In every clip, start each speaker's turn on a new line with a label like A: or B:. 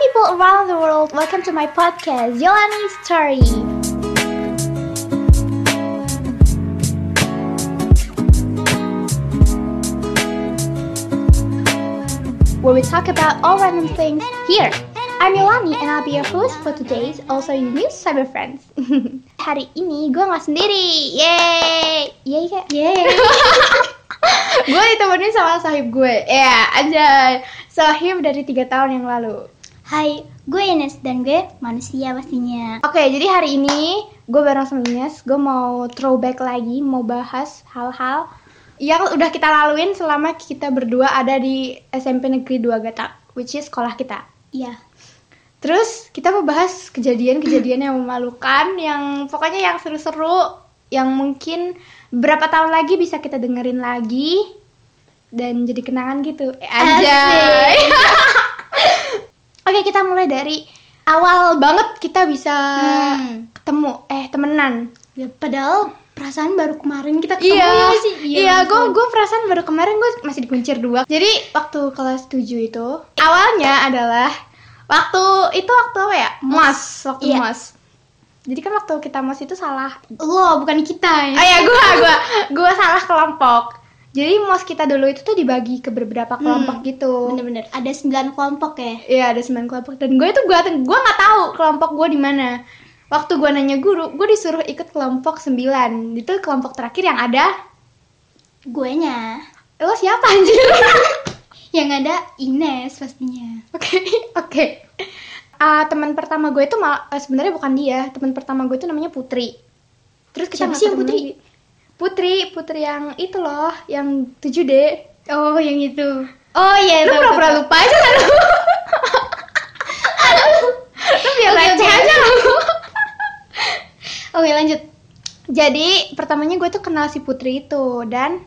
A: People around the world, welcome to my podcast, Yolani Story. Where we talk about all random things here. I'm Yolani and I'll be your host for today's also your new cyber friends. Hari ini gue nggak sendiri, yay, yay kak, yay. gue ditemenin sama sahib gue, ya anjay. Sahib dari tiga tahun yang lalu.
B: Hai, gue Ines dan gue manusia pastinya.
A: Oke, jadi hari ini gue bareng sama Ines, gue mau throwback lagi, mau bahas hal-hal yang udah kita laluin selama kita berdua ada di SMP Negeri 2 Gatak, which is sekolah kita.
B: Iya,
A: Terus kita mau bahas kejadian-kejadian yang memalukan, yang pokoknya yang seru-seru, yang mungkin berapa tahun lagi bisa kita dengerin lagi dan jadi kenangan gitu. Eh, anjay. Oke, kita mulai dari awal banget kita bisa
B: Hmm.
A: ketemu eh temenan.
B: ya, padahal perasaan baru kemarin kita ketemu
A: Iya,
B: ya sih.
A: iya, gue gue perasaan baru kemarin gue masih dikuncir dua. Jadi waktu kelas 7 itu awalnya adalah waktu itu waktu apa ya? Mos, waktu
B: Iya.
A: mos. Jadi kan waktu kita mos itu salah.
B: lo bukan kita ya.
A: Ah ya gue gue gue salah kelompok. Jadi mos kita dulu itu tuh dibagi ke beberapa kelompok
B: Hmm,
A: gitu.
B: Bener-bener ada 9 kelompok ya.
A: Iya ada sembilan kelompok dan gue itu gue gue nggak tahu kelompok gue di mana. Waktu gue nanya guru, gue disuruh ikut kelompok 9 Itu kelompok terakhir yang ada
B: Guenya
A: Eh, Lo siapa anjir?
B: yang ada Ines pastinya.
A: Oke, oke. Ah, teman pertama gue itu mal- eh, sebenarnya bukan dia. Teman pertama gue itu namanya Putri. Terus kita
B: Siapa
A: nggak
B: sih yang
A: ketemu
B: Putri?
A: lagi. Putri, Putri yang itu loh, yang 7D.
B: Oh, yang itu.
A: Oh iya, lu
B: tahu,
A: pura-pura
B: tahu.
A: lupa aja kan lu. lu biar
B: Oke,
A: receh
B: oke.
A: aja lu.
B: Oke, lanjut.
A: Jadi pertamanya gue tuh kenal si Putri itu dan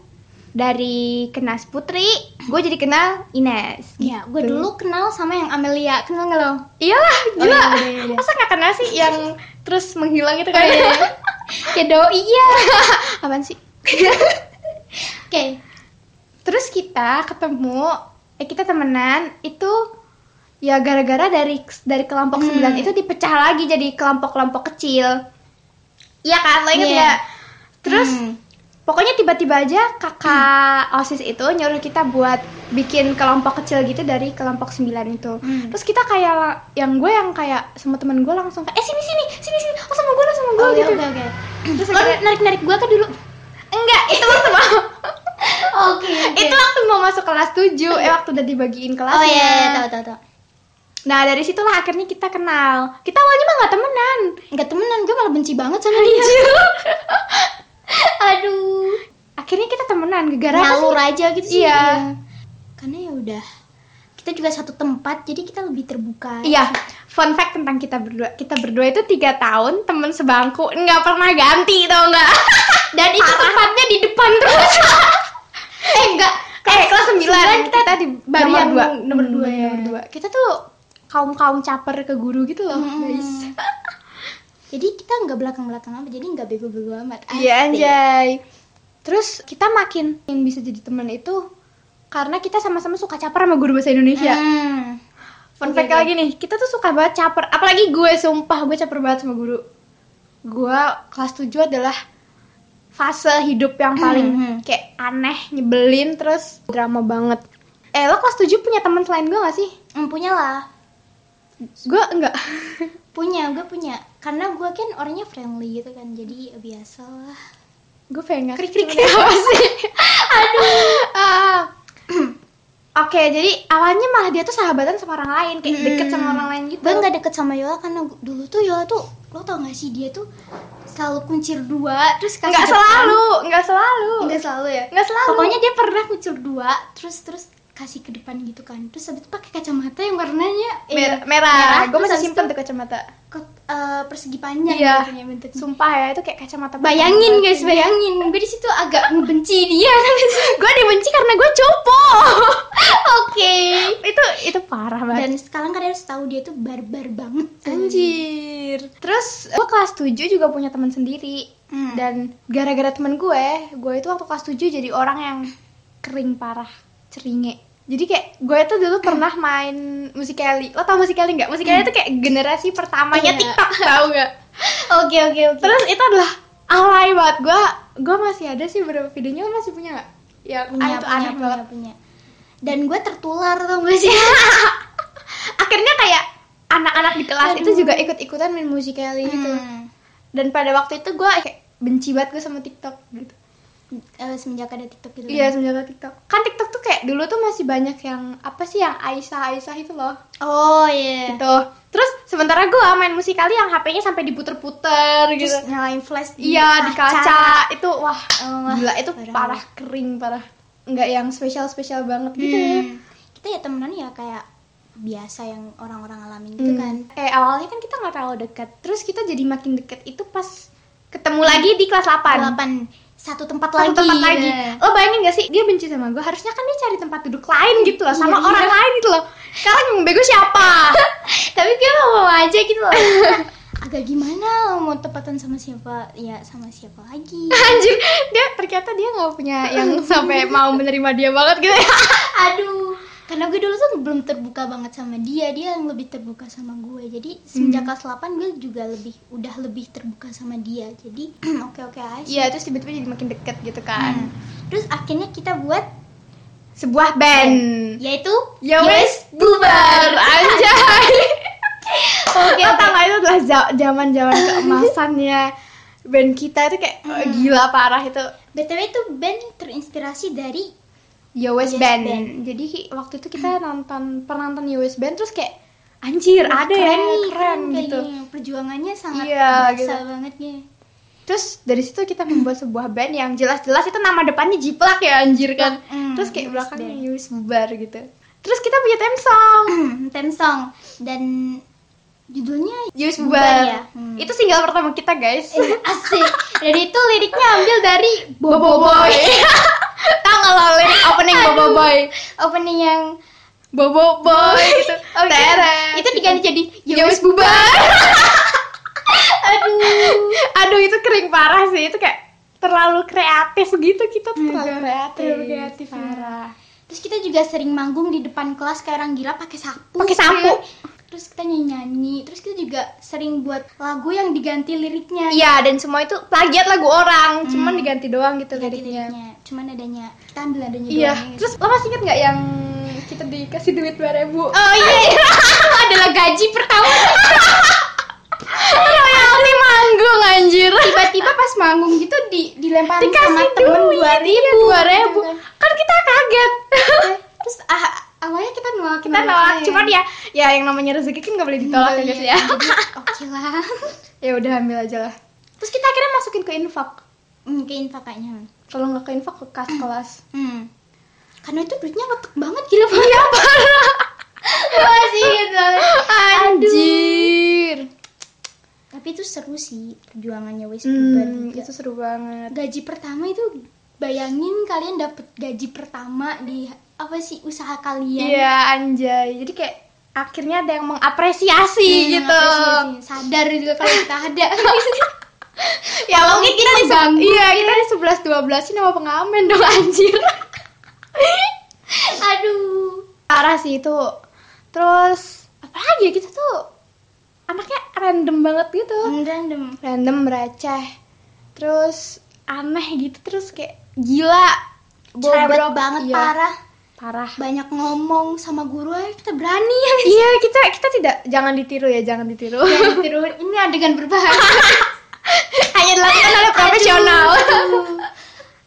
A: dari kenal si Putri, gue jadi kenal Ines.
B: Ya, gue
A: Gitu.
B: dulu kenal sama yang Amelia. Kenal nggak lo?
A: Iyalah,
B: Oh,
A: gila.
B: iya, iya, Oh, iya.
A: Masa gak kenal sih yang terus menghilang itu kan? iya.
B: ya doi ya.
A: Apaan sih?
B: Oke.
A: Terus kita ketemu, eh kita temenan itu ya gara-gara dari dari kelompok
B: Hmm.
A: sembilan itu dipecah lagi jadi kelompok-kelompok kecil. Iya kan, lo inget
B: Iya.
A: nggak? Terus
B: Hmm.
A: pokoknya tiba-tiba aja kakak osis itu nyuruh kita buat bikin kelompok kecil gitu dari kelompok 9 itu
B: Hmm.
A: terus kita kayak la- yang gue yang kayak sama temen gue langsung kayak eh sini sini sini sini oh sama gue lo sama gue
B: Oh, ya,
A: gitu
B: oke oke.
A: terus
B: Lo
A: akhirnya-
B: narik-narik gue kan dulu.
A: enggak itu waktu mau
B: Oke. oke.
A: itu waktu mau masuk kelas 7 eh waktu udah dibagiin kelasnya
B: Oh iya, iya, tahu tahu tahu.
A: nah dari situlah akhirnya kita kenal kita awalnya mah nggak temenan
B: Enggak temenan, gue malah benci banget sama dia.
A: Anjir.
B: Aduh.
A: akhirnya kita temenan gara-gara apa
B: Ngalur
A: sih?
B: aja gitu sih.
A: Iya.
B: Karena ya udah kita juga satu tempat, jadi kita lebih terbuka.
A: Iya, fun fact tentang kita berdua. Kita berdua itu tiga tahun temen sebangku, nggak pernah ganti tau nggak?
B: Dan itu tempatnya di depan terus. eh enggak.
A: Eh kelas sembilan
B: sembilan
A: kita tadi baru
B: nomor
A: yang
B: dua.
A: nomor
B: Hmm,
A: dua
B: iya.
A: nomor dua. Kita tuh kaum kaum caper ke guru gitu loh,
B: Hmm.
A: guys.
B: Jadi kita enggak belakang-belakang amat, jadi enggak bego-bego amat.
A: Iya
B: Asik.
A: anjay. Terus kita makin yang bisa jadi teman itu karena kita sama-sama suka caper sama guru bahasa Indonesia.
B: Hmm.
A: Fun
B: Oke,
A: fact
B: oke.
A: lagi nih, kita tuh suka banget caper. Apalagi gue sumpah gue caper banget sama guru. Gue kelas 7 adalah fase hidup yang
B: Mhm.
A: paling kayak aneh, nyebelin, terus drama banget. Eh, lo kelas 7 punya teman selain gue gak sih?
B: Hmm, punya lah.
A: Gue enggak.
B: Punya, gue punya. Karena gue kan orangnya friendly gitu kan, jadi ya biasa lah.
A: gue pengen
B: Krik, krik,
A: ngasih apa sih? Aduh. Ah. Oke, jadi awalnya malah dia tuh sahabatan sama orang lain, kayak deket sama orang lain gitu.
B: Hmm. Gue nggak deket sama Yola karena gu- dulu tuh Yola tuh lo tau gak sih dia tuh selalu kuncir dua terus kasih
A: Enggak
B: depan.
A: selalu, enggak selalu.
B: Nggak selalu ya
A: Nggak selalu.
B: pokoknya dia pernah kuncir dua terus terus kasih ke depan gitu kan terus habis itu pakai kacamata yang warnanya eh,
A: Mer- Iya. merah. Gue
B: Terus
A: masih
B: habis
A: simpen
B: itu
A: tuh kacamata.
B: ke- eh, persegi panjang
A: Iya.
B: gitu punya bentuknya
A: Sumpah ya, itu kayak kacamata.
B: bayangin guys bayangin gue di situ agak membenci dia
A: gue dibenci karena gue cupu.
B: oke
A: itu itu parah banget.
B: dan sekarang kalian harus tahu dia tuh barbar banget
A: Anjir. Terus gue kelas 7 juga punya teman sendiri.
B: Hmm.
A: Dan gara-gara temen gue, gue itu waktu kelas 7 jadi orang yang kering parah, ceringe. Jadi kayak gue tuh dulu pernah main musikali. Lo tau musikali nggak? Musikali itu kayak generasi pertamanya
B: Iya.
A: TikTok Hmm. tau nggak?
B: Oke oke oke.
A: Terus itu adalah alay banget. Gue gue masih ada sih beberapa videonya. Lo masih punya nggak? Ya,
B: punya,
A: ah, itu
B: punya,
A: aneh
B: punya,
A: banget.
B: punya. Dan gue tertular tau gak sih?
A: Akhirnya kayak anak-anak di kelas itu
B: Aduh.
A: juga ikut-ikutan main musikali gitu.
B: Hmm.
A: Dan pada waktu itu gue kayak benci banget gue sama TikTok gitu.
B: Eh, semenjak ada TikTok gitu.
A: Iya, semenjak ada TikTok. Kan TikTok tuh kayak dulu tuh masih banyak yang apa sih yang Aisyah Aisyah itu loh.
B: Oh iya.
A: Gitu. Terus sementara gue main musikali yang HP-nya sampai diputer-puter
B: Terus
A: gitu.
B: nyalain flash di
A: Iya, di kaca. Itu wah,
B: Oh,
A: gila itu
B: parah.
A: parah kering parah. Enggak yang spesial-spesial banget gitu. ya.
B: Hmm. Kita ya temenan ya kayak biasa yang orang-orang alamin gitu
A: Hmm.
B: kan.
A: Kayak awalnya kan kita nggak terlalu dekat. Terus kita jadi makin dekat itu pas ketemu lagi di kelas 8.
B: Delapan satu tempat
A: Satu
B: lagi.
A: tempat lagi.
B: Iya.
A: Lo bayangin gak sih dia benci sama gue? Harusnya kan dia cari tempat duduk lain gitu loh, sama
B: Iya, iya.
A: orang lain gitu loh. Sekarang yang bego siapa?
B: Tapi dia mau mau aja gitu loh. Agak gimana lo mau tepatan sama siapa? Ya sama siapa lagi?
A: Anjir, dia ternyata dia nggak punya yang sampai mau menerima dia banget gitu ya.
B: Aduh, karena gue dulu tuh belum terbuka banget sama dia, dia yang lebih terbuka sama gue. Jadi semenjak
A: Hmm.
B: kelas 8 gue juga lebih udah lebih terbuka sama dia. Jadi oke-oke aja.
A: Iya, terus tiba-tiba jadi makin deket gitu
B: Hmm.
A: kan.
B: Terus akhirnya kita buat
A: Sebuah band.
B: yaitu
A: Ya wes bubar anjay. Oke, lo tau nggak, itu adalah za- zaman-zaman keemasannya band kita itu kayak
B: Hmm.
A: eh, gila parah itu.
B: BTW itu band terinspirasi dari
A: Yo West
B: Yes
A: Band.
B: Band. Hmm.
A: Jadi ki- waktu itu kita nonton pernah nonton Yo West Band terus kayak anjir ada ya
B: keren
A: nih
B: nih,
A: keren, gitu.
B: kayak gini. Perjuangannya sangat
A: Iya,
B: biasa
A: gitu.
B: banget ya.
A: Terus dari situ kita membuat sebuah band yang jelas-jelas itu nama depannya Jiplak ya anjir kan.
B: Mm,
A: terus
B: Yo
A: kayak
B: West
A: belakangnya
B: Band.
A: Yo West Bubar gitu. Terus kita punya theme song
B: Theme song dan judulnya
A: Yo West
B: Bubar
A: Bubar.
B: ya? Hmm. Iya,
A: Itu single pertama kita guys.
B: asik. Dan itu liriknya ambil dari
A: Bobo Boy. Tahu nggak lo lirik opening Bobo Boy?
B: opening yang
A: Bobo Boy gitu.
B: Oke.
A: Teret.
B: Itu diganti jadi
A: Yo West Bubar.
B: Aduh.
A: Aduh itu kering parah sih itu kayak terlalu kreatif gitu kita tuh terlalu
B: Iya,
A: kreatif,
B: terlalu kreatif,
A: parah.
B: Terus kita juga sering manggung di depan kelas kayak orang gila pakai sapu.
A: Pakai sapu.
B: Terus kita nyanyi-nyanyi. Terus kita juga sering buat lagu yang diganti liriknya.
A: Iya dan semua itu plagiat lagu orang,
B: Hmm.
A: cuman diganti doang gitu
B: Diganti
A: liriknya.
B: Cuman adanya kita ambil adanya
A: Iya.
B: doang.
A: Terus lo masih inget nggak yang kita dikasih duit 2000 ribu?
B: oh iya. Itu adalah gaji pertama.
A: Royalti Iya, manggung anjir.
B: Tiba-tiba pas manggung gitu di dilemparin sama
A: Dikasih
B: temen
A: duit iya,
B: dua ribu. Iya.
A: 2000. Kan kita kaget.
B: Terus ah, awalnya kita nolak
A: kita nolak, cuman ya ya yang namanya rezeki kan nggak boleh ditolak
B: Iya,
A: ya guys ya.
B: Jadi, gitu. Oke lah.
A: Ya udah ambil aja lah. Terus kita akhirnya masukin ke infak.
B: Mungkin pakainya.
A: Kalau nggak ke infak ke kas kelas.
B: Hmm. Karena itu duitnya letek banget gila
A: Iya parah.
B: masih gitu.
A: Anjir.
B: Tapi itu seru sih perjuangannya wis bubar
A: Hmm,
B: juga.
A: itu seru banget.
B: Gaji pertama itu bayangin kalian dapet gaji pertama di apa sih usaha kalian?
A: Iya anjay. Jadi kayak akhirnya ada yang mengapresiasi
B: Hmm,
A: gitu.
B: apresiasi. Sadar gitu. juga kalau kita ada.
A: Ya mungkin kita di
B: terganggu,
A: Iya, kita di 11 12 ini sama pengamen dong anjir.
B: Aduh.
A: Parah sih itu. Terus apa lagi ya, kita tuh anaknya random banget gitu.
B: Hmm, Random.
A: Random receh. Terus aneh gitu terus kayak gila.
B: Cerewet banget
A: Iya,
B: parah.
A: Parah.
B: Banyak ngomong sama guru aja kita berani ya.
A: Iya kita kita tidak jangan ditiru ya jangan ditiru.
B: Jangan ditiru. Ini adegan berbahaya.
A: Hanya dilakukan oleh profesional.
B: Aduh.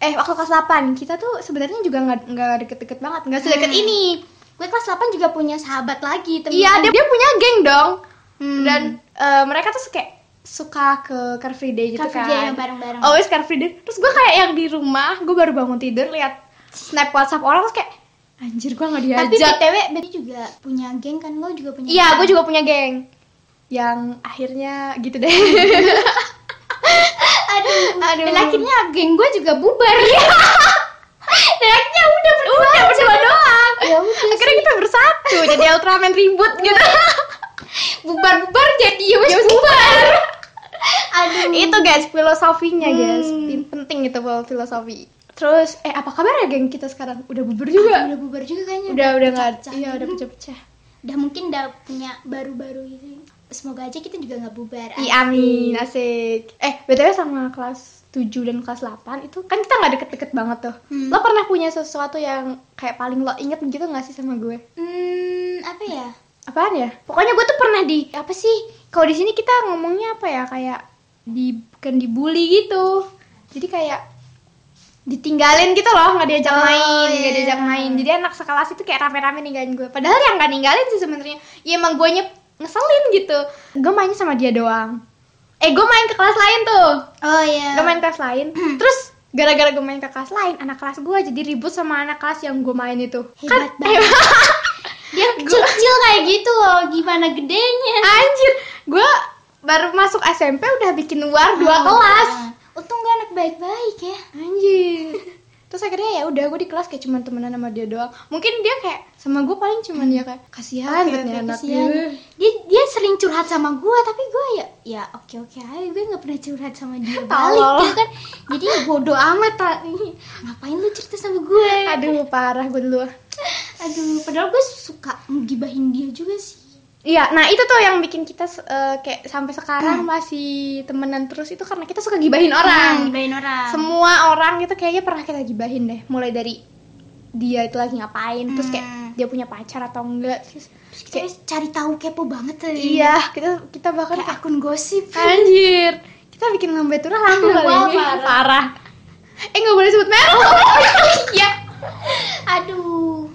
A: eh waktu kelas 8 kita tuh sebenarnya juga nggak nggak deket-deket banget nggak sedekat
B: Hmm.
A: ini.
B: Gue kelas 8 juga punya sahabat lagi, temen kan.
A: Iya dia, dia punya geng dong
B: Hmm.
A: dan eh, mereka tuh kayak suka ke Car Free Day gitu
B: Car Free
A: kan.
B: Day yang bareng-bareng.
A: Always Car Free Day. Terus gue kayak yang di rumah gue baru bangun tidur lihat snap WhatsApp orang terus kayak anjir gue nggak
B: Tapi
A: diajak.
B: BTW, BTW juga punya geng kan lo juga punya.
A: Iya, gue
B: geng.
A: juga punya geng yang akhirnya gitu deh.
B: Aduh.
A: Aduh.
B: Dan akhirnya geng gue juga bubar. Dan akhirnya udah berdua.
A: Udah berdua doang.
B: Ya udah.
A: Akhirnya kita bersatu jadi Ultraman ribut gitu.
B: Bubar-bubar jadi ya wes Iya. bubar. Aduh.
A: itu guys filosofinya guys.
B: Hmm.
A: Penting itu fil- filosofi. Terus eh apa kabar ya geng kita sekarang? Udah bubar juga.
B: udah bubar juga kayaknya
A: Udah udah nggak
B: pecah-pecah.
A: iya udah pecah-pecah.
B: udah mungkin udah punya baru-baru gitu semoga aja kita juga nggak bubar
A: Iya amin asik. Eh btw sama kelas 7 dan kelas 8 itu kan kita nggak deket-deket banget tuh.
B: Hmm.
A: Lo pernah punya sesuatu yang kayak paling lo inget gitu nggak sih sama gue?
B: hmm apa ya
A: Apaan ya? Pokoknya gue tuh pernah di apa sih? Kalau di sini kita ngomongnya apa ya? Kayak di bukan dibully gitu. Jadi kayak ditinggalin gitu loh, nggak diajak
B: Oh,
A: main, nggak
B: iya.
A: diajak main. Jadi anak sekelas itu kayak rame-rame ninggalin gue. Padahal yang nggak ninggalin sih sebenarnya. Ya emang gue ngeselin gitu. Gue mainnya sama dia doang. Eh gue main ke kelas lain tuh.
B: oh ya
A: Gue main kelas lain. Terus gara-gara gue main ke kelas lain, anak kelas gue jadi ribut sama anak kelas yang gue main itu.
B: Hebat banget. dia kecil kayak gitu loh gimana gedenya
A: Anjir, gue baru masuk SMP udah bikin luar
B: Oh,
A: dua kelas.
B: nah. untung gue anak baik-baik ya
A: Anjir. Terus akhirnya ya udah gue di kelas kayak cuman temenan sama dia doang. Mungkin dia kayak sama gue paling cuman ya kayak kasihan
B: Oke,
A: banget nih
B: oke,
A: anak. ya.
B: kasihan.
A: Ih.
B: dia dia sering curhat sama gue tapi gue ya ya oke oke aja gue nggak pernah curhat sama dia balik
A: Tolol.
B: gitu kan jadi bodoh amat tak ngapain lu cerita sama gue
A: Aduh parah gue dulu.
B: aduh padahal gue suka ngegibahin dia juga sih
A: Iya, nah itu tuh yang bikin kita eh, kayak sampai sekarang
B: Hmm.
A: masih temenan terus itu karena kita suka gibahin orang.
B: gibahin Iya, orang
A: Semua orang itu kayaknya pernah kita gibahin deh, mulai dari dia itu lagi ngapain, terus
B: Hmm.
A: kayak dia punya pacar atau enggak, terus
B: Terus kita cari tahu kepo banget eh.
A: Iya, kita kita bahkan
B: kayak akun gosip
A: anjir. Kita bikin lambe turah laku kali
B: Wah,
A: ini.
B: parah. Oh,
A: Parah. Eh nggak boleh sebut merek. Iya.
B: aduh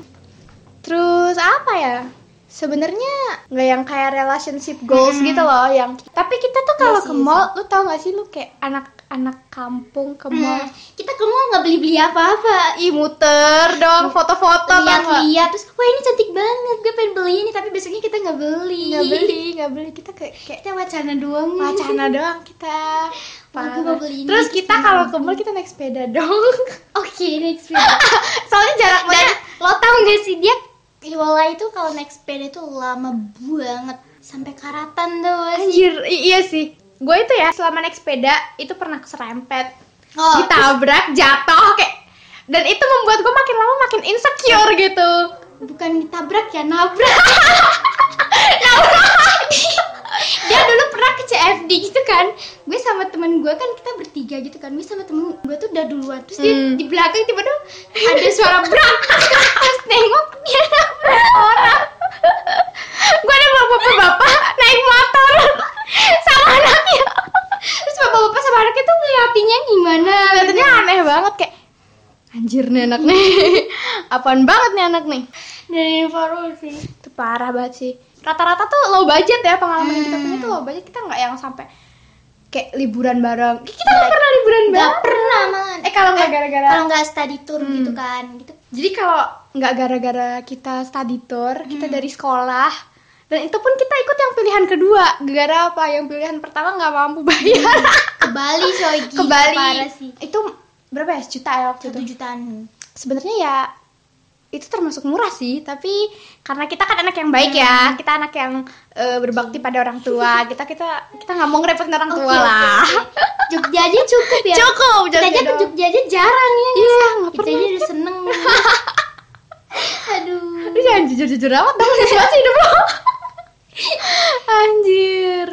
A: Terus apa ya? Sebenarnya nggak yang kayak relationship goals gitu loh yang tapi kita tuh kalau
B: Hmm. Iya
A: ke
B: sih,
A: mall lu tau gak sih lu kayak anak-anak kampung ke mall Eh,
B: Hmm, kita ke mall nggak beli beli apa apa
A: ih muter dong foto-foto tau nggak?
B: lihat-lihat terus wah ini cantik banget gue pengen beli ini tapi besoknya kita nggak beli
A: nggak beli nggak beli kita kayak kayak
B: kita wacana doang
A: wacana doang kita
B: gue mau beli ini, terus
A: terus kita
B: gue mau
A: kalau ke mall kita naik sepeda dong
B: oke next video
A: soalnya jarak
B: dan
A: banyak
B: lo tau gak sih dia Yola itu kalau naik sepeda itu lama banget sampai karatan tuh masih
A: anjir i- iya sih gue itu ya selama naik sepeda itu pernah keserempet
B: oh,
A: ditabrak jatuh kayak dan itu membuat gue makin lama makin insecure gitu
B: bukan ditabrak ya nabrak dia dulu pernah ke CFD gitu kan gue sama temen gue kan kita bertiga gitu kan gue sama temen gue tuh udah duluan terus dia
A: Hmm.
B: di belakang tiba-tiba ada suara brak terus nengok dia nabrak orang
A: gue ada bapak bapak naik motor sama anaknya
B: terus bapak-bapak sama anaknya tuh ngeliatinnya gimana
A: kelihatannya aneh banget kayak anjir nih anak nih apaan banget nih anak nih
B: dari Faru sih
A: itu parah banget sih rata-rata tuh low budget ya pengalaman yang kita
B: Hmm.
A: punya tuh low budget kita nggak yang sampai kayak liburan bareng kita nggak pernah liburan
B: nggak
A: bareng
B: pernah man
A: eh kalau nggak gara-gara
B: kalau nggak study tour gitu kan gitu
A: jadi kalau nggak gara-gara kita study tour kita
B: Hmm.
A: dari sekolah dan itu pun kita ikut yang pilihan kedua gara apa yang pilihan pertama nggak mampu bayar
B: ke Bali coy gitu.
A: ke Bali
B: Hmm. parah sih
A: itu berapa ya sejuta ya waktu
B: satu
A: itu
B: jutaan
A: sebenarnya ya itu termasuk murah sih tapi karena kita kan anak yang baik ya kita anak yang eh, berbakti pada orang tua kita kita kita nggak mau ngerepotin orang
B: Oke,
A: tua
B: oke,
A: lah
B: oke. Jogja aja cukup ya
A: cukup
B: kita aja ke
A: dong.
B: Jogja aja jarang ya nggak
A: iya
B: sih?
A: nggak
B: kita
A: pernah
B: aja udah seneng aduh
A: Lu jangan jujur-jujur amat dong, serius banget sih hidup lo Anjir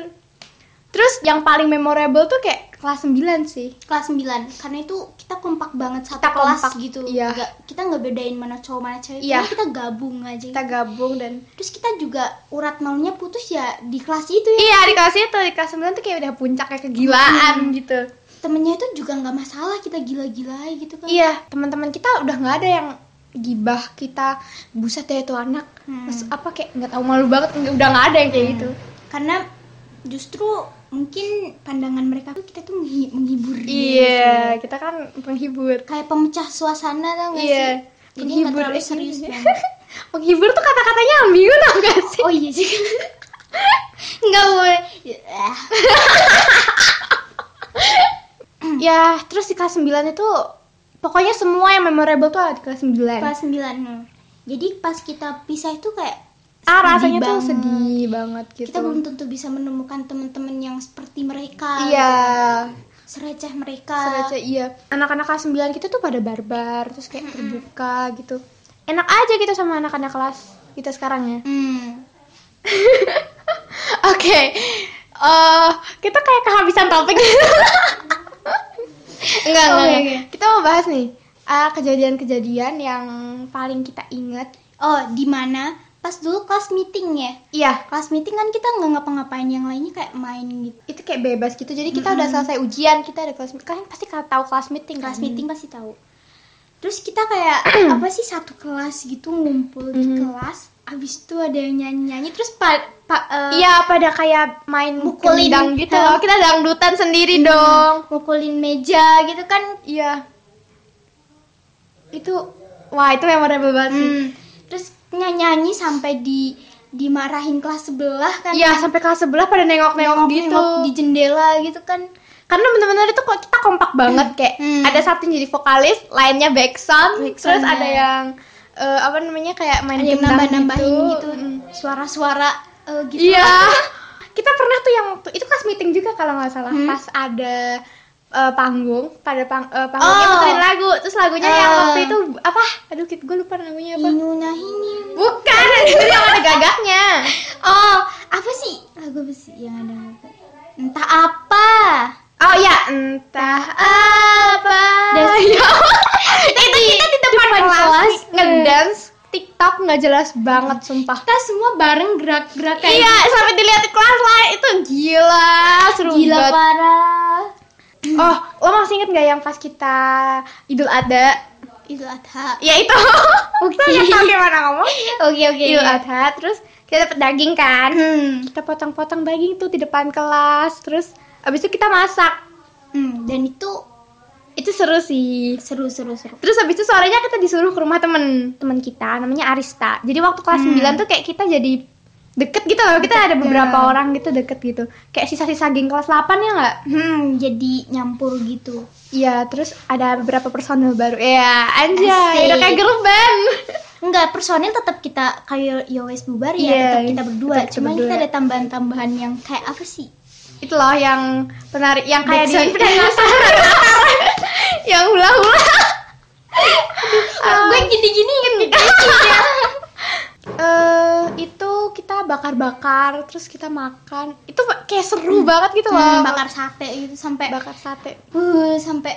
A: Terus yang paling memorable tuh kayak kelas 9 sih
B: kelas 9 karena itu kita kompak banget satu
A: Kita
B: kelas
A: kompak,
B: gitu
A: iya.
B: Nggak- kita nggak bedain mana cowok mana cewek
A: Iya.
B: Pokoknya kita gabung aja
A: Kita gabung dan
B: terus kita juga urat nolnya putus ya di kelas itu ya
A: Iya di kelas itu, di kelas 9 tuh kayak udah puncaknya kegilaan gitu
B: temennya itu juga nggak masalah kita gila-gila gitu kan
A: Iya teman-teman kita udah nggak ada yang gibah kita Buset ya itu anak
B: Hmm.
A: Terus apa kayak nggak tahu malu banget, nggak- udah nggak ada yang kayak gitu
B: karena justru mungkin pandangan mereka tuh kita tuh menghi- menghibur dia
A: Iya, kita kan penghibur
B: kayak pemecah suasana tau gak
A: Iya,
B: sih jadi nggak
A: penghibur,
B: terlalu
A: eh,
B: serius
A: iya.
B: banget
A: Penghibur tuh kata-katanya ambigu tau gak sih?
B: oh iya sih nggak boleh Ya, eh. Hmm.
A: Ya, terus di kelas 9 itu pokoknya semua yang memorable tuh ada di kelas 9.
B: kelas 9 jadi pas kita pisah itu kayak
A: ah,
B: sedih
A: rasanya tuh
B: banget.
A: sedih banget gitu.
B: kita belum tentu bisa menemukan teman-teman yang seperti mereka
A: Iya.
B: sereceh mereka
A: Sereceh, iya anak-anak kelas 9 kita tuh pada barbar terus kayak terbuka gitu enak aja gitu sama anak-anak kelas kita sekarang ya
B: Hmm.
A: oke Eh, kita kayak kehabisan topik
B: enggak
A: Oh,
B: enggak,
A: iya,
B: enggak.
A: iya. kita mau bahas nih ah, kejadian-kejadian yang paling kita inget
B: oh di mana pas dulu kelas meeting ya
A: iya
B: kelas meeting kan kita nggak ngapa-ngapain yang lainnya kayak main gitu
A: itu kayak bebas gitu jadi kita udah selesai ujian kita ada kelas meeting kalian pasti tahu kelas meeting
B: kelas
A: kan?
B: meeting pasti tahu terus kita kayak apa sih satu kelas gitu ngumpul di
A: Mhm.
B: kelas abis itu ada yang nyanyi nyanyi terus eh, pak pak
A: Iya pada kayak main
B: Mukulin.
A: kendang gitu loh. Kita dangdutan sendiri dong.
B: mukulin meja gitu kan
A: Iya. Itu wah itu memorable banget sih.
B: Hmm. terus nyanyi sampai di dimarahin kelas sebelah kan
A: Iya sampai kelas sebelah pada nengok-nengok gitu.
B: Nengok di jendela gitu kan
A: Karena bener-bener itu kok kita kompak banget kayak
B: Hmm.
A: ada satu yang jadi vokalis, lainnya backsound,
B: Back
A: terus
B: sound-nya.
A: ada yang eh, apa namanya kayak
B: iya.
A: main
B: ada yang
A: gendang
B: nambah nambahin gitu,
A: Mm.
B: suara-suara eh, gitu
A: Iya. Kita pernah tuh yang waktu itu kelas meeting juga kalau nggak salah
B: Hmm.
A: pas ada eh, panggung pada pang, eh, panggungnya
B: Oh.
A: puterin lagu terus lagunya yang
B: Eh.
A: waktu itu apa aduh gue lupa namanya apa
B: Inu nahini.
A: bukan itu yang ada gagaknya
B: oh apa sih lagu apa sih yang ada entah apa
A: oh ya entah apa
B: Dan-
A: Ya. itu kita di depan, kelas, Hmm.
B: kelas,
A: ngedance TikTok nggak jelas banget sumpah
B: kita semua bareng gerak-gerak kayak
A: iya sampai dilihat kelas lain itu gila seru
B: gila
A: banget
B: parah
A: Oh, lo masih inget nggak yang pas kita Idul Adha?
B: Idul Adha
A: Ya itu.
B: Oke.
A: Kita nggak tahu gimana ngomong.
B: oke oke
A: Idul Adha, terus kita dapet daging kan?
B: Hmm.
A: Iya. Kita potong-potong daging tuh di depan kelas, terus abis itu kita masak.
B: Hmm, dan itu
A: Itu seru sih.
B: seru seru seru
A: Terus habis itu sorenya kita disuruh ke rumah temen temen kita, namanya Arista. Jadi waktu kelas
B: Hmm.
A: 9 tuh kayak kita jadi deket gitu loh. Kita ada beberapa
B: ya.
A: orang gitu deket gitu. Kayak sisa-sisa geng kelas 8 ya nggak?
B: hmm jadi nyampur gitu
A: Iya, terus ada beberapa personel baru. Iya,
B: Asik.
A: anjay, udah kayak girl band.
B: Enggak, personil tetap kita kayak Yowes bubar ya,
A: Iya,
B: tetap kita berdua.
A: tetap kita
B: Cuman kita
A: berdua.
B: ada tambahan-tambahan yang kayak apa sih?
A: Itu loh yang penari yang kayak di
B: Backsound.
A: yang hula-hula.
B: gue gini-gini inget
A: Iya.
B: ya.
A: Eh, itu kita bakar-bakar, terus kita makan. Itu kayak seru banget gitu loh.
B: bakar sate gitu sampai
A: bakar sate.
B: uh, sampai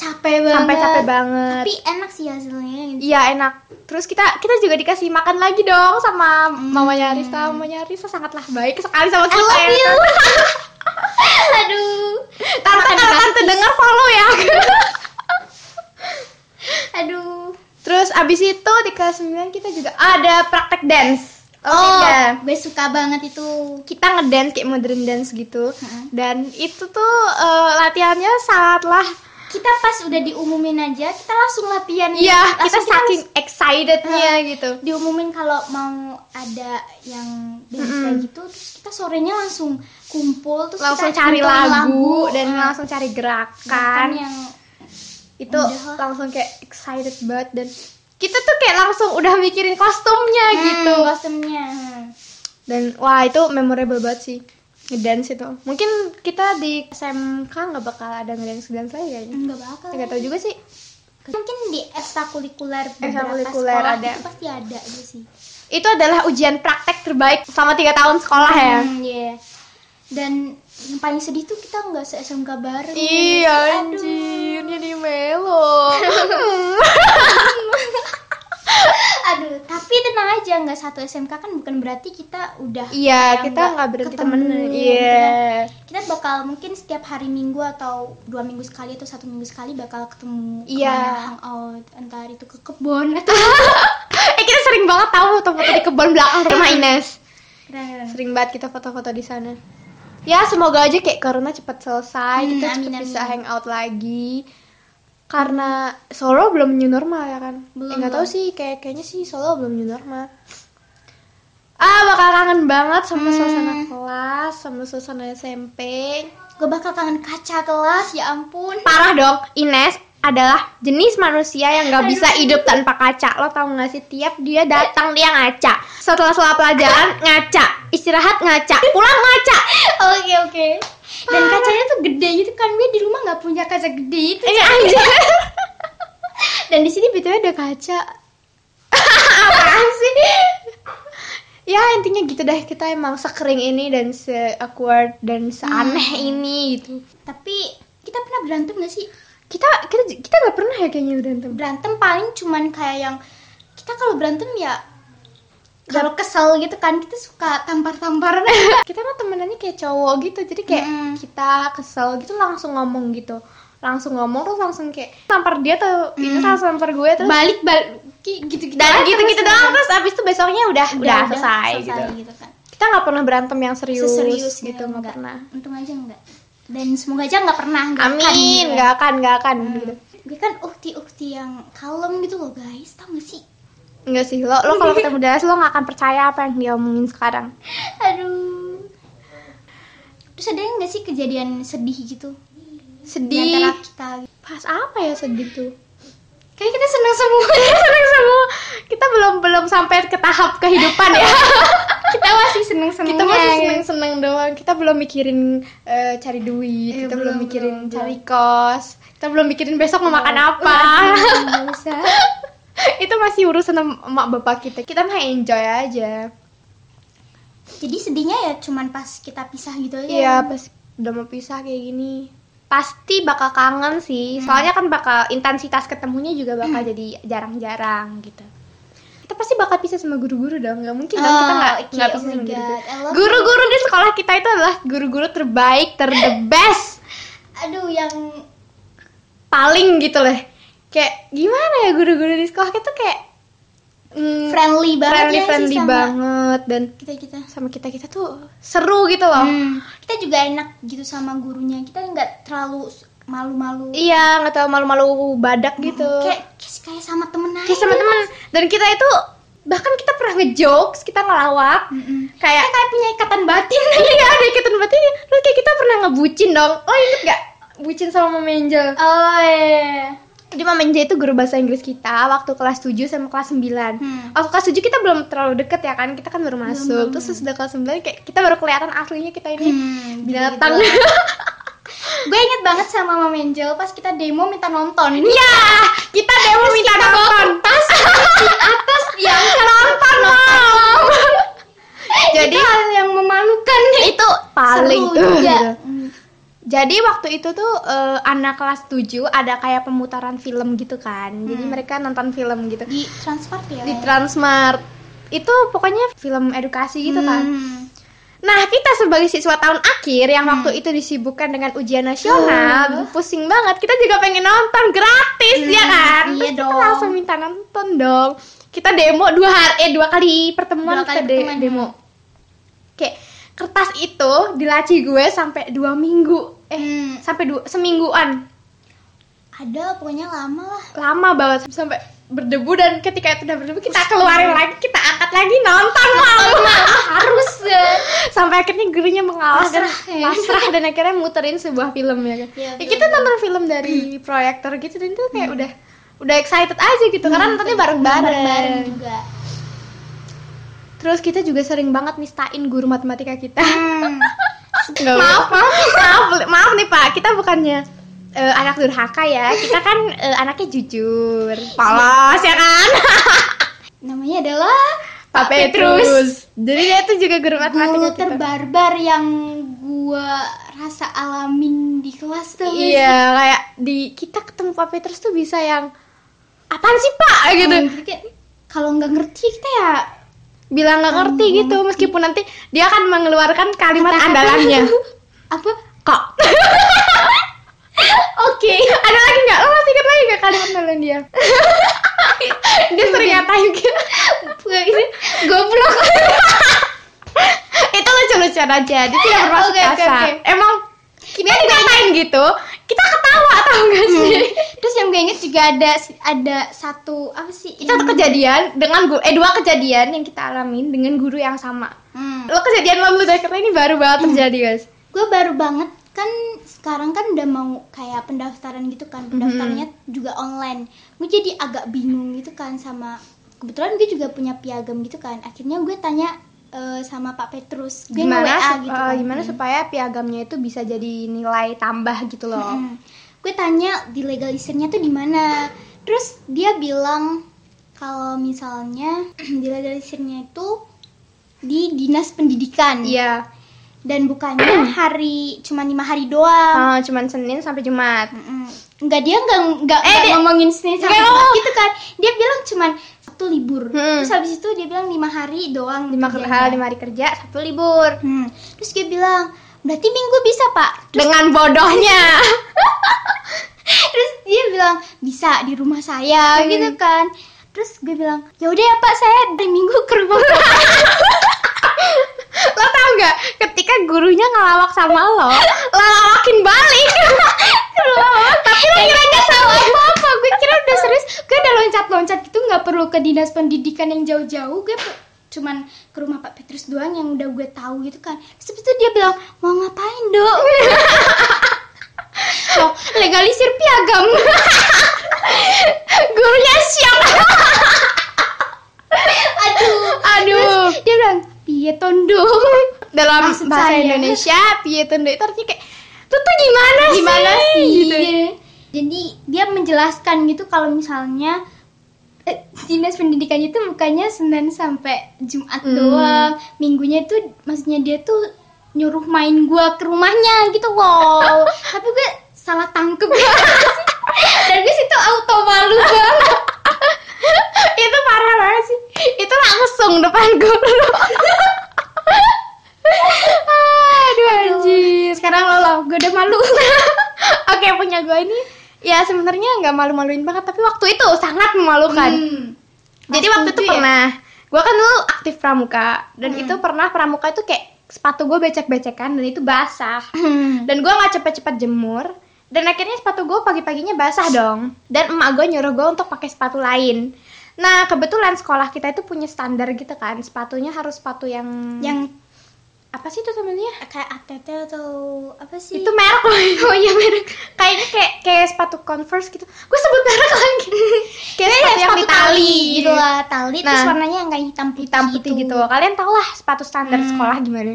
B: capek banget.
A: Sampai capek banget.
B: Tapi enak sih hasilnya. gitu.
A: Iya enak. Terus kita kita juga dikasih makan lagi dong sama mamanya Arista. Mamanya Arista sangatlah baik sekali
B: I
A: sama kita.
B: love
A: ya.
B: you. Aduh.
A: Tante
B: Makan
A: kalau
B: gratis.
A: tante dengar follow ya.
B: Aduh.
A: Terus abis itu di kelas 9 kita juga ada praktek dance.
B: Oh,
A: Iya.
B: gue suka banget itu.
A: Kita ngedance kayak modern dance gitu.
B: Mm-mm.
A: Dan itu tuh eh, latihannya sangatlah
B: Kita pas udah diumumin aja, kita langsung latihan.
A: Iya, kita
B: Langsung
A: saking excitednya gitu.
B: diumumin kalau mau ada yang dance
A: Mm-mm.
B: kayak gitu terus kita sorenya langsung kumpul terus
A: Langsung
B: kita
A: cari
B: nonton
A: lagu dan
B: eh,
A: langsung kan? Nah. cari
B: gerakan
A: gerakan.
B: yang
A: Itu
B: udah lah.
A: langsung kayak excited banget dan kita tuh kayak langsung udah mikirin kostumnya
B: hmm,
A: gitu.
B: kostumnya hmm.
A: Dan wah itu memorable banget sih ngedance itu. Mungkin kita di SMK nggak bakal ada ngedance ngedance lagi kayaknya.
B: nggak bakal
A: Nggak tahu juga sih.
B: mungkin di ekstrakurikuler beberapa
A: Ekstrakurikuler
B: sekolah
A: ada.
B: itu pasti ada aja sih
A: Itu adalah ujian praktek terbaik selama tiga tahun sekolah ya.
B: Hmm, iya. dan yang paling sedih tuh kita nggak se SMK bareng Gitu kan.
A: Iya
B: Aduh.
A: anjir, jadi melo.
B: aduh tapi tenang aja nggak satu SMK kan bukan berarti kita udah
A: iya,
B: yang
A: kita nggak berhenti
B: ketemu,
A: temenan.
B: gitu
A: Iya.
B: kita bakal mungkin setiap hari minggu atau dua minggu sekali atau satu minggu sekali bakal ketemu
A: Iya.
B: kemana hangout entar itu ke kebun atau
A: Eh kita sering banget tahu foto-foto di kebun belakang rumah Ines.
B: Keren.
A: Sering banget kita foto-foto di sana. Ya semoga aja kayak corona cepat selesai,
B: Hmm,
A: kita
B: amin,
A: cepet
B: amin.
A: bisa hangout lagi. Karena Solo belum new normal ya kan?
B: Belum,
A: Eh, nggak tahu
B: belum.
A: sih, kayak kayaknya sih Solo belum new normal. Ah bakal kangen banget sama
B: Hmm.
A: suasana kelas, sama suasana SMP.
B: gue bakal kangen kaca kelas ya ampun
A: Parah dong, Ines adalah jenis manusia yang nggak bisa hidup tanpa kaca. Lo tau nggak sih? Tiap dia datang dia ngaca. Setelah setelah pelajaran ngaca, istirahat ngaca, pulang ngaca.
B: oke oke dan kacanya tuh gede gitu kan gue di rumah nggak punya kaca gede itu
A: Ini aja. Dan di sini btw ada kaca. Apaan sih? Ya intinya gitu deh kita emang sekering ini dan se awkward dan seaneh ini gitu.
B: tapi kita pernah berantem gak sih
A: Kita kita kita nggak pernah ya kayaknya berantem.
B: berantem paling cuman kayak yang kita kalau berantem ya kalau kesel gitu kan kita suka tampar-tamparan
A: Kita mah temenannya kayak cowok gitu jadi kayak
B: Mm.
A: kita kesel gitu langsung ngomong gitu langsung ngomong terus langsung kayak tampar dia tuh itu langsung tampar gue terus
B: balik balik Ya gitu gitu
A: Mm. dan gitu-gitu doang terus abis itu besoknya udah udah, selesai, gitu.
B: kan
A: Kita nggak pernah berantem yang serius,
B: Seserius
A: gitu nggak
B: enggak.
A: pernah.
B: untung aja enggak dan semoga aja nggak pernah nggak akan
A: Amin,
B: gitu.
A: nggak akan, nggak akan
B: Hmm.
A: gitu.
B: gue kan ukti-ukti yang kalem gitu loh guys tau gak sih
A: Enggak sih, lo lo kalau ketemu Dallas lo nggak akan percaya apa yang dia omongin sekarang.
B: aduh terus ada yang nggak sih kejadian sedih gitu di
A: Sedih.
B: antara kita gitu.
A: Pas apa ya sedih tuh?
B: kayak kita seneng semua
A: Seneng semua. Kita belum belum sampai ke tahap kehidupan ya.
B: kita masih ya. seneng seneng
A: kita masih seneng-seneng doang. Kita belum mikirin eh, cari duit,
B: Iya,
A: kita belum, Iya.
B: belum,
A: mikirin
B: belum,
A: cari kos, kita belum mikirin besok mau makan apa. Itu masih urusan em- emak bapak kita. Kita mah enjoy aja.
B: jadi sedihnya ya cuman pas kita pisah gitu aja
A: Iya pas udah mau pisah kayak gini pasti bakal kangen sih soalnya kan bakal intensitas ketemunya juga bakal jadi jarang-jarang gitu kita pasti bakal pisah sama guru-guru dong nggak mungkin dong kita
B: Oh,
A: nggak
B: okay, oh
A: nggak pisah
B: my
A: sama
B: God, I
A: guru-guru
B: love
A: Eh, iya, guru-guru di sekolah kita itu adalah guru-guru terbaik ter the best
B: aduh yang
A: paling gitu loh kayak gimana ya guru-guru di sekolah kita kayak mm,
B: friendly banget
A: friendly
B: ya sih
A: friendly
B: sama
A: banget dan
B: kita kita
A: sama kita kita tuh seru gitu loh
B: Hmm, kita juga enak gitu sama gurunya kita nggak terlalu s- malu-malu
A: Iya, nggak tahu malu-malu badak gitu.
B: Hmm, kayak kayak- kayak sama temen aja
A: Kayak sama teman dan kita itu bahkan kita pernah ngejokes, kita ngelawak
B: Mm-mm.
A: kayak
B: kayak punya ikatan batin
A: iya ada ikatan batin terus kayak kita pernah ngebucin dong lo inget gak bucin sama Mama Angel
B: oh iya
A: jadi Mama Angel itu guru bahasa Inggris kita waktu kelas 7 sama kelas 9
B: Hmm.
A: waktu kelas 7 Oh, kita belum terlalu deket ya kan kita kan baru masuk terus sudah kelas 9 kayak kita baru kelihatan aslinya kita ini
B: Hmm,
A: binatang
B: gitu. gue inget banget sama Mama Angel pas kita demo minta nonton
A: ya kita demo minta nonton tas
B: atas ya, dia
A: nonton Mom.
B: jadi
A: jadi
B: hal yang memalukan
A: itu paling
B: seru
A: uh,
B: juga
A: gitu. Jadi waktu itu tuh eh, anak kelas 7 ada kayak pemutaran film gitu kan. Jadi
B: Hmm.
A: mereka nonton film gitu
B: di transport ya
A: di Transmart. Itu pokoknya film edukasi gitu kan.
B: Hmm.
A: Nah, kita sebagai siswa tahun akhir yang waktu itu disibukkan dengan ujian nasional, pusing banget. Kita juga pengen nonton gratis ya
B: Hmm,
A: kan.
B: iya
A: Terus
B: dong.
A: Kita langsung minta nonton dong. Kita demo dua hari eh dua kali
B: Dua
A: pertemuan
B: kali
A: kita de-
B: pertemuan.
A: demo. Kayak kertas itu dilaci gue sampai dua minggu. Eh,
B: Hmm.
A: sampai dua, semingguan.
B: ada pokoknya lama lah
A: Lama banget sampai berdebu dan ketika itu udah berdebu kita keluarin lagi, kita angkat lagi nonton malu.
B: harus
A: sampai akhirnya gurunya mengalah
B: Pasrah,
A: dan
B: ya.
A: pasrah dan akhirnya muterin sebuah film ya kan
B: Iya,
A: Ya, kita nonton film dari proyektor gitu dan itu kayak udah udah excited aja gitu karena nontonnya bareng bareng
B: bareng Hmm, juga
A: terus kita juga sering banget nistain guru matematika kita Nggak
B: maaf
A: boleh.
B: maaf
A: maaf maaf nih pak kita bukannya eh, anak durhaka ya kita kan eh, anaknya jujur polos ya kan
B: namanya adalah
A: Pak
B: Petrus.
A: Petrus jadi dia tuh juga guru matematika
B: guru
A: kita.
B: terbarbar yang gua rasa alamin di kelas tuh
A: Iya, kayak di kita ketemu Pak Petrus tuh bisa yang apaan sih Pak gitu.
B: Hmm, jadi kayak, kalau nggak ngerti kita ya
A: Bilang nggak ngerti
B: Hmm.
A: gitu meskipun nanti dia akan mengeluarkan kalimat andalannya.
B: apa
A: Kok? Oke, ada lagi nggak? Lo masih ingat lagi nggak kalimat andalan dia? dia sering ngatain gitu.
B: goblok
A: Itu lucu-lucuan aja, dia tidak bermaksud
B: Oke, oke,
A: kasar.
B: oke.
A: Emang kita dikatain gitu, kita ketawa tau gak
B: Hmm.
A: sih?
B: terus yang gue inget juga ada ada satu apa sih
A: Itu satu kejadian dengan guru, eh dua kejadian yang kita alamin dengan guru yang sama.
B: Hmm.
A: lo kejadian lo dulu deh karena ini baru banget terjadi guys
B: gue baru banget kan sekarang kan udah mau kayak pendaftaran gitu kan
A: Hmm.
B: pendaftarannya juga online gue jadi agak bingung gitu kan sama kebetulan gue juga punya piagam gitu kan akhirnya gue tanya eh, sama Pak Petrus gue
A: gimana
B: nge-WA
A: sup-
B: gitu
A: eh,
B: kan.
A: gimana supaya piagamnya itu bisa jadi nilai tambah gitu loh
B: Mm. gue tanya di legalisernya tuh di mana terus dia bilang kalau misalnya di legalisernya itu di dinas pendidikan
A: iya
B: dan bukannya hari cuma lima hari doang
A: eh, cuman senin sampai jumat
B: Mm-mm. nggak dia nggak nggak
A: Ah. Eh,
B: nggak
A: dia-
B: ngomongin senin
A: nggak
B: sampai
A: ngomong.
B: Jumat gitu kan dia bilang cuman satu libur
A: Hmm.
B: terus habis itu dia bilang lima hari doang
A: lima
B: kerjanya.
A: hal lima hari kerja sabtu libur
B: Hmm. terus gue bilang berarti minggu bisa pak
A: dengan bodohnya
B: terus dia bilang bisa di rumah saya gitu kan terus gue bilang ya udah ya pak saya hari minggu ke rumah bapak."
A: lo tau gak ketika gurunya ngelawak sama lo lo lawakin balik tapi lo kira gak salah apa apa
B: gue kira udah serius gue udah loncat loncat gitu nggak perlu ke dinas pendidikan yang jauh jauh gue pe- cuman ke rumah Pak Petrus doang yang udah gue tahu gitu kan terus habis itu dia bilang mau ngapain dok Loh, legalisir piagam
A: gurunya siap
B: aduh
A: aduh
B: dia bilang piye tondong
A: dalam
B: Maksud
A: bahasa
B: saya.
A: Indonesia piye tuh itu artinya kayak itu tuh gimana sih
B: gimana sih
A: gitu.
B: jadi dia menjelaskan gitu kalau misalnya eh, dinas pendidikan itu bukannya senin sampai jumat
A: Hmm.
B: doang minggunya itu maksudnya dia tuh nyuruh main gua ke rumahnya gitu loh tapi gue salah tangkep dan gue situ auto malu banget
A: itu parah banget sih itu langsung depan guru aduh anjir
B: sekarang lo lo gue udah malu
A: Oke punya gue ini ya sebenarnya nggak malu-maluin banget tapi waktu itu sangat memalukan.
B: Hmm.
A: Jadi
B: Waktu
A: waktu
B: itu
A: itu
B: ya?
A: pernah gue kan dulu aktif pramuka dan itu pernah pramuka itu kayak sepatu gue becek-becekan dan itu basah dan gue nggak cepet-cepet jemur dan akhirnya sepatu gue pagi-paginya basah dong dan emak gue nyuruh gue untuk pakai sepatu lain. Nah kebetulan sekolah kita itu punya standar gitu kan sepatunya harus sepatu yang
B: yang
A: apa sih itu namanya?
B: kayak ATT atau apa sih
A: itu merek loh oh iya merek kayaknya kayak kayak sepatu converse gitu gue sebut merek lagi kayak
B: Kayak
A: sepatu yang di tali
B: gitu lah eh, tali terus
A: Nah.
B: warnanya yang kayak hitam putih
A: hitam putih gitu kalian tau lah sepatu standar
B: Hmm.
A: sekolah gimana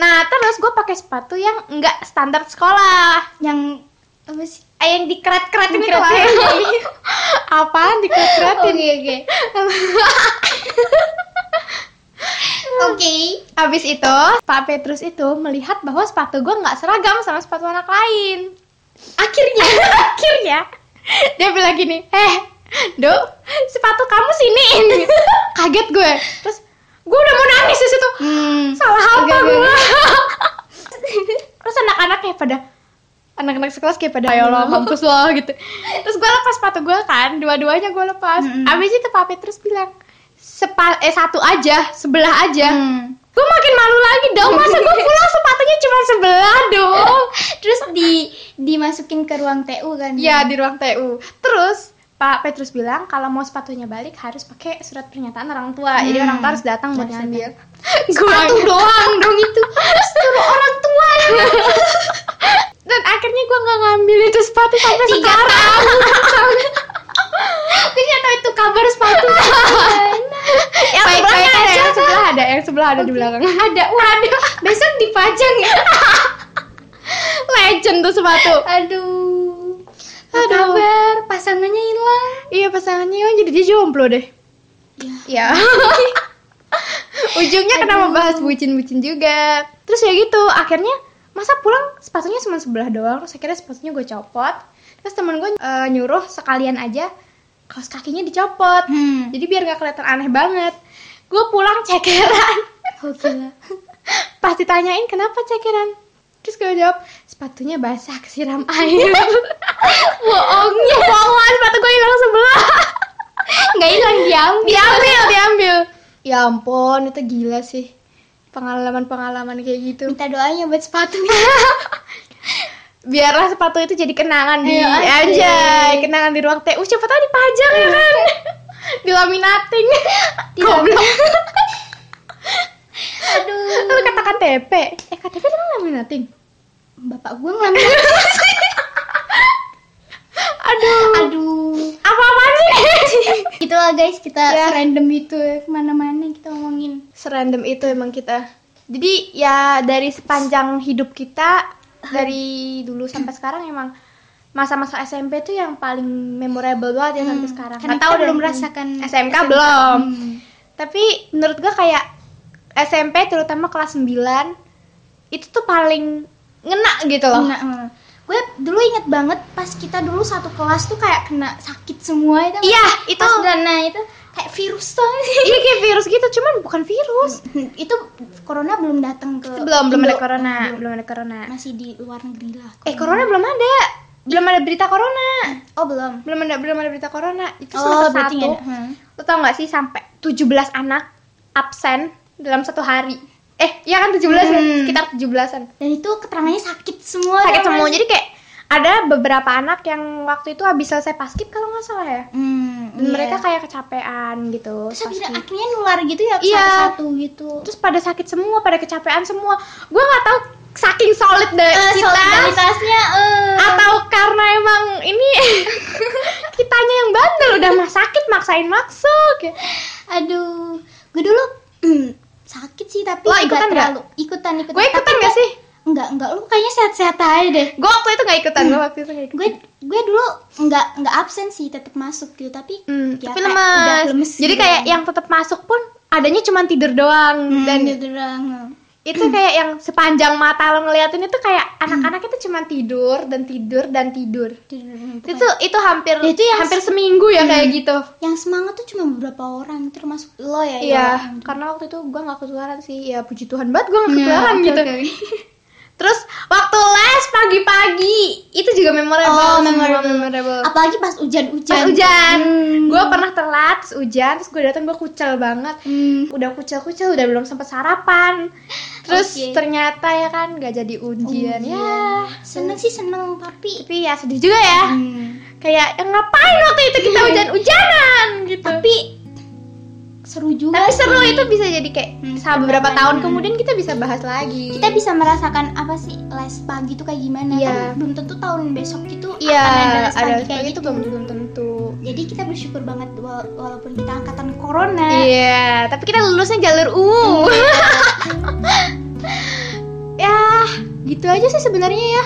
A: nah terus gue pakai sepatu yang enggak standar sekolah
B: yang apa sih Ah,
A: Eh, yang dikeret-keretin
B: gitu
A: itu lah
B: Dikeret-keretin.
A: apaan dikeret-keretin
B: oke oke oke
A: abis itu Pak Petrus itu melihat bahwa sepatu gue nggak seragam sama sepatu anak lain
B: akhirnya
A: akhirnya dia bilang gini eh do sepatu kamu siniin kaget gue terus gue udah mau nangis di situ
B: hmm.
A: salah apa
B: Agak
A: gue
B: geli.
A: terus anak-anak kayak pada anak-anak sekelas kayak pada ayo lo mampus lo gitu terus gue lepas sepatu gue kan dua-duanya gue lepas
B: Mm-mm.
A: abis itu papi terus bilang Sepa eh satu aja sebelah aja
B: Hmm.
A: gue makin malu lagi dong masa gue pulang sepatunya cuma sebelah dong
B: Oh. terus di dimasukin ke ruang TU kan
A: Iya di ruang TU. Terus Pak Petrus bilang kalau mau sepatunya balik harus pakai surat pernyataan orang tua. Jadi
B: Hmm.
A: orang tua harus datang buat
B: Harus
A: ngambil.
B: sepatu
A: Gua-
B: doang dong itu terus suruh orang tua
A: Dan akhirnya gue nggak ngambil itu sepatu sampai
B: Tiga
A: sekarang.
B: gue nggak tahu itu kabar sepatu
A: yang
B: Baik-baik
A: sebelahnya ada,
B: aja.
A: yang sebelah ada, yang sebelah ada di belakang.
B: ada waduh besok dipajang ya
A: Legend tuh sepatu.
B: aduh apa
A: Aduh.
B: kabar pasangannya hilang
A: Iya pasangannya oh, jadi dia jomblo deh.
B: Ya.
A: Iya. Ujungnya kenapa
B: Aduh.
A: bahas bucin-bucin juga. Terus ya gitu, akhirnya masa pulang sepatunya cuma sebelah doang. Terus akhirnya sepatunya gue copot. Terus temen gue eh, nyuruh sekalian aja kaos kakinya dicopot.
B: hmm
A: Jadi biar nggak kelihatan aneh banget. Gue pulang cekeran.
B: oke lah
A: Pas ditanyain kenapa cekeran. Terus gue jawab, sepatunya basah kesiram air.
B: bohongnya
A: Bohongan, sepatu gue hilang sebelah.
B: nggak hilang diambil
A: diambil diambil ya ampun itu gila sih pengalaman pengalaman kayak gitu
B: minta doanya buat sepatu
A: biarlah sepatu itu jadi kenangan di
B: Ayo, Iya, asik.
A: anjay kenangan di ruang TU siapa tahu dipajang ya kan di laminating
B: Di
A: goblok
B: aduh
A: lu kata KTP eh KTP itu kan laminating
B: bapak gue ngambil
A: aduh
B: aduh
A: apa apaan sih
B: Itulah Gitu guys kita
A: Ya.
B: random itu ya, kemana-mana kita ngomongin.
A: serandom itu emang kita jadi ya dari sepanjang hidup kita dari dulu sampai sekarang emang masa-masa SMP tuh yang paling memorable banget ya sampai
B: Hmm,
A: sekarang
B: karena
A: Nggak tahu
B: kita
A: deh.
B: belum merasakan
A: SMK belum
B: Hmm.
A: tapi menurut gua kayak SMP terutama kelas 9 itu tuh paling ngena gitu loh
B: Nah, eh. gue dulu inget banget pas kita dulu satu kelas tuh kayak kena sakit semua itu.
A: iya
B: itu.
A: itu
B: Pas dana itu kayak virus tuh.
A: iya kayak virus gitu cuman bukan virus
B: itu corona belum datang ke
A: belum belum ada
B: Indo.
A: corona
B: Belum.
A: belum ada corona
B: Masih di luar negeri lah.
A: eh corona belum ada belum ada berita corona
B: Oh, belum.
A: belum ada belum ada berita corona itu
B: oh,
A: semester
B: berarti
A: satu
B: nggak ada. Hmm.
A: lo tau gak sih sampai 17 anak absen dalam satu hari eh iya kan 17 ya?
B: Hmm. Oh, iya,
A: sekitar 17an
B: Dan itu keterangannya sakit semua. ya kan?
A: sakit
B: tau nggak
A: semua
B: sih?
A: jadi kayak ada beberapa anak yang waktu itu habis selesai paskib kalau nggak salah ya
B: Hmm,
A: dan
B: iya.
A: mereka kayak kecapean gitu
B: terus akhirnya,
A: paskib.
B: akhirnya nular gitu ya ke
A: Iya.
B: satu-satu gitu.
A: terus pada sakit semua pada kecapean semua gue nggak tahu saking solid dari
B: Eh,
A: kita
B: solidaritasnya eh.
A: atau karena emang ini kitanya yang bandel udah mah sakit maksain masuk ya.
B: Aduh, gue dulu sakit sih tapi
A: Lo
B: nggak
A: ikutan nggak?
B: terlalu ikutan ikutan.
A: gue ikutan gak sih
B: Enggak enggak, lu kayaknya sehat-sehat aja deh.
A: gue waktu itu nggak ikutan gue waktu itu nggak ikutan
B: Gue gue dulu enggak enggak absen sih, tetap masuk gitu tapi
A: Hmm,
B: ya
A: tapi
B: kayak
A: lemes.
B: udah lemes
A: Jadi
B: gitu.
A: kayak yang tetap masuk pun adanya cuma tidur doang
B: Hmm,
A: dan
B: gitu Hmm. doang.
A: itu kayak yang sepanjang mata lo ngeliatin itu kayak
B: Hmm.
A: anak-anak itu cuma tidur dan tidur dan tidur.
B: Tidur, hmm,
A: Itu
B: pokoknya.
A: tuh- itu hampir
B: Ya, Hmm. itu yang-
A: hampir seminggu ya kayak gitu.
B: yang semangat tuh cuma beberapa orang termasuk lo ya.
A: Iya,
B: Yola.
A: karena waktu itu gua nggak ketularan sih. Ya puji Tuhan banget gua nggak
B: Nah,
A: ketularan
B: oke,
A: gitu.
B: oke.
A: Terus waktu les pagi-pagi itu juga memorable.
B: Oh,
A: semua,
B: memorable.
A: memorable.
B: Apalagi pas hujan-hujan.
A: Pas hujan,
B: Hmm.
A: gua pernah telat terus hujan, terus gue datang gue kucel banget.
B: Hmm.
A: udah kucel-kucel udah belum sempat sarapan terus
B: Oke.
A: ternyata ya kan nggak jadi
B: Ujian.
A: ujian, ya
B: Oh, iya. Seneng sih seneng tapi ah,
A: tapi ya sedih juga ya kayak ya ngapain waktu itu kita hujan-hujanan gitu
B: Iya. tapi seru juga.
A: tapi
B: sih.
A: seru itu bisa jadi kayak
B: Hmm,
A: sama beberapa
B: kenangan.
A: tahun kemudian kita bisa bahas lagi
B: kita bisa merasakan apa sih les pagi tuh kayak gimana
A: Iya.
B: Kan belum tentu tahun besok itu
A: iya
B: akan ada les
A: ada
B: pagi kayak
A: seperti itu
B: gitu
A: belum belum tentu
B: jadi kita bersyukur banget wal- walaupun kita angkatan corona
A: iya tapi kita lulusnya jalur U ya gitu aja sih sebenarnya ya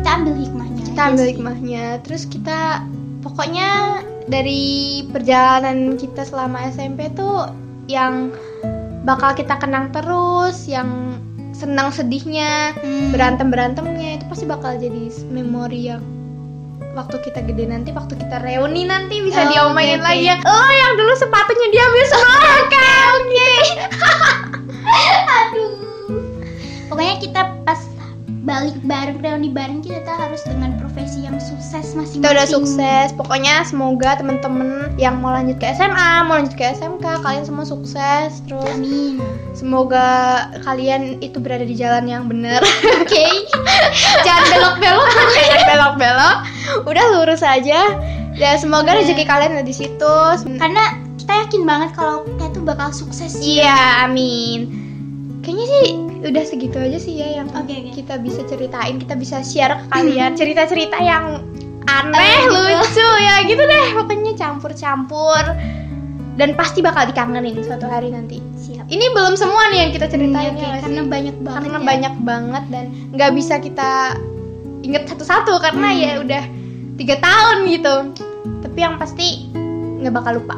B: kita ambil hikmahnya
A: kita
B: aja
A: ambil
B: sih.
A: hikmahnya terus kita pokoknya dari perjalanan kita selama SMP tuh yang bakal kita kenang terus yang senang sedihnya
B: Hmm.
A: berantem berantemnya itu pasti bakal jadi s- memori yang waktu kita gede nanti waktu kita reuni nanti bisa
B: Oh,
A: diomelin
B: oke, oke.
A: lagi ya oh yang dulu sepatunya diambil semua kan
B: aduh pokoknya kita pas balik bareng reuni bareng kita tuh harus dengan profesi yang sukses masing-masing
A: kita udah sukses pokoknya semoga temen-temen yang mau lanjut ke SMA mau lanjut ke SMK kalian semua sukses terus
B: amin
A: Semoga kalian itu berada di jalan yang benar.
B: oke
A: Jangan belok-belok, jangan belok-belok. Udah lurus aja. Dan semoga
B: Bener.
A: rezeki kalian ada di situ.
B: karena kita yakin banget kalau kita tuh bakal sukses sih
A: Iya, amin. Kayaknya sih udah segitu aja sih ya yang
B: Oke, oke.
A: kita bisa ceritain, kita bisa share ke kalian cerita-cerita yang aneh,
B: gitu.
A: lucu ya gitu deh. Pokoknya campur-campur dan pasti bakal dikangenin suatu hari nanti.
B: siap
A: Ini belum semua nih yang kita ceritain
B: Oke,
A: ya nggak sih?
B: Hmm, iya karena banyak banget
A: karena
B: ya.
A: banyak banget dan nggak bisa kita inget satu-satu karena
B: Hmm.
A: ya udah tiga tahun gitu tapi yang pasti nggak bakal lupa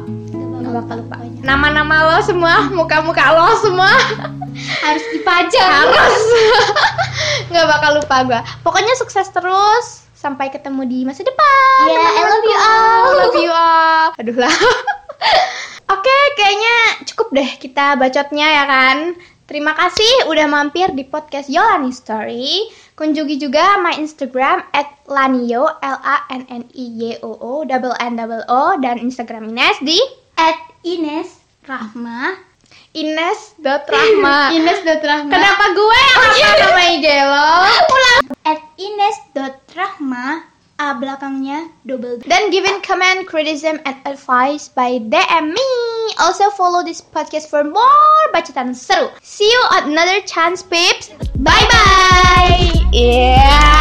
A: nggak bakal lupa
B: Banyak.
A: nama-nama lo semua muka-muka lo semua
B: harus dipajang
A: harus nggak bakal lupa gua pokoknya sukses terus sampai ketemu di masa depan
B: Yeah, I Ya, love you
A: teman-temanku.
B: all.
A: love you all aduh lah oke kayaknya cukup deh kita bacotnya ya kan terima kasih udah mampir di podcast Yolani Story kunjungi juga my Instagram at lanio l a n n i y o o double n double o dan Instagram Ines di
B: at Ines Rahma
A: ines.rahma
B: Ines dot Rahma Oh, iya.
A: Kenapa gue yang apa sama IG lo?
B: at Ines dot Rahma a belakangnya double D.
A: Then given comment, criticism, and advice by DM me. Also follow this podcast for more bacotan seru. See you at another chance, peeps. Bye bye. Yeah.